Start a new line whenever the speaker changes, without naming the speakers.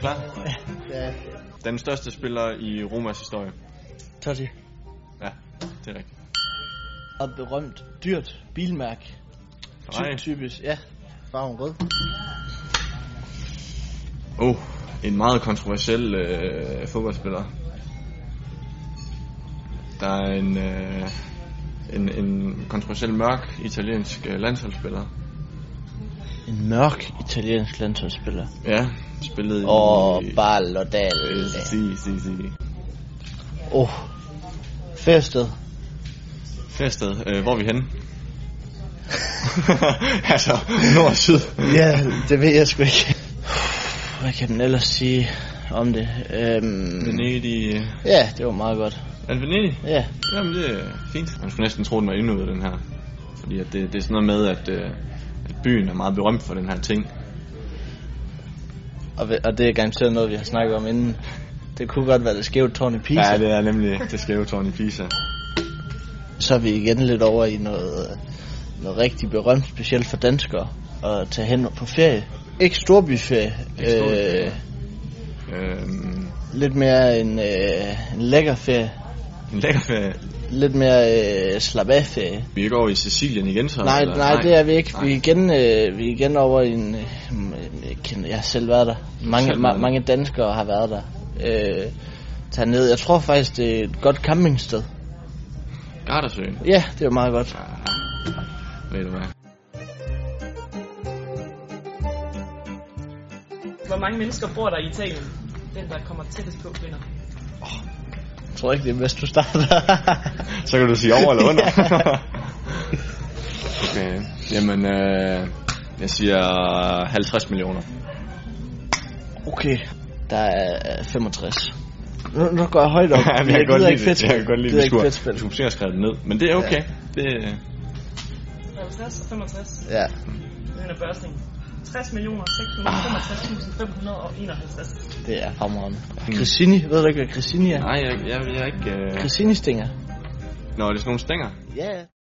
klar?
Ja,
Den største spiller i Romas historie.
Totti.
Ja, det er rigtigt.
Og berømt, dyrt bilmærke.
Nej.
Ty- typisk, ja. Farven rød.
Oh, en meget kontroversiel øh, fodboldspiller. Der er en, øh, en, en kontroversiel mørk italiensk øh, landsholdsspiller.
En mørk italiensk landsholdsspiller.
Ja,
Øh.
spillede
Og
i...
Ballodal.
Øh, si, si, si.
Åh. Oh. Færsted.
Færsted, øh, hvor er vi henne? altså, nord og syd.
Ja, det ved jeg sgu ikke. Hvad kan den ellers sige om det? Øhm,
Venedig. øh,
ja, det var meget godt.
Er det Venedig?
Ja,
Jamen, det er fint. Man skulle næsten tro, den var indøvet, den her. Fordi at det, det er sådan noget med, at, øh, at byen er meget berømt for den her ting.
og, ve- og det er garanteret noget, vi har snakket om inden. Det kunne godt være det skævt tårn i Pisa.
Ja, det er nemlig det skæve tårn i Pisa.
Så er vi igen lidt over i noget, øh, noget rigtig berømt, specielt for danskere, at tage hen på ferie. Ikke storbyferie.
Ikke storbyferie.
øh,
Øhm,
lidt mere en, øh, en lækker ferie.
en lækker ferie.
Lidt mere øh, slap af ferie.
Vi er ikke over i Sicilien igen, så?
Nej,
eller?
nej, det er vi ikke.
Nej.
Vi er igen, øh, vi er igen over i en... Øh, jeg, kender, jeg har selv været der. Mange,
Selv været
ma-
der.
mange danskere har været der. Øh, tager ned. Jeg tror faktisk, det er et godt campingsted.
Gardersøen.
Ja, det er jo meget godt.
Ja, ved du hvad?
Hvor mange mennesker bor der i Italien? Den, der kommer tættest på, vinder.
Jeg tror ikke, det er bedst, du starter.
Så kan du sige over eller under. okay. Jamen, øh, jeg siger 50 millioner.
okay, der er 65. Nu, nu går jeg højt op.
Ja, men jeg kan godt
gider
lide det. Jeg
fedtspil.
kan godt lide
Gider
det. Vi
ikke
skulle,
fedtspil.
vi skulle se at skrive det ned. Men det er okay. Det,
50 og 65.
Ja.
Den er børsning. 60 millioner 665.551.
Det er fremragende. Crissini, ved du ikke, hvad Crissini er?
nej, jeg, jeg, jeg er ikke... Øh...
Crissini-stinger.
Nå, er det sådan nogle stænger?
Ja, ja.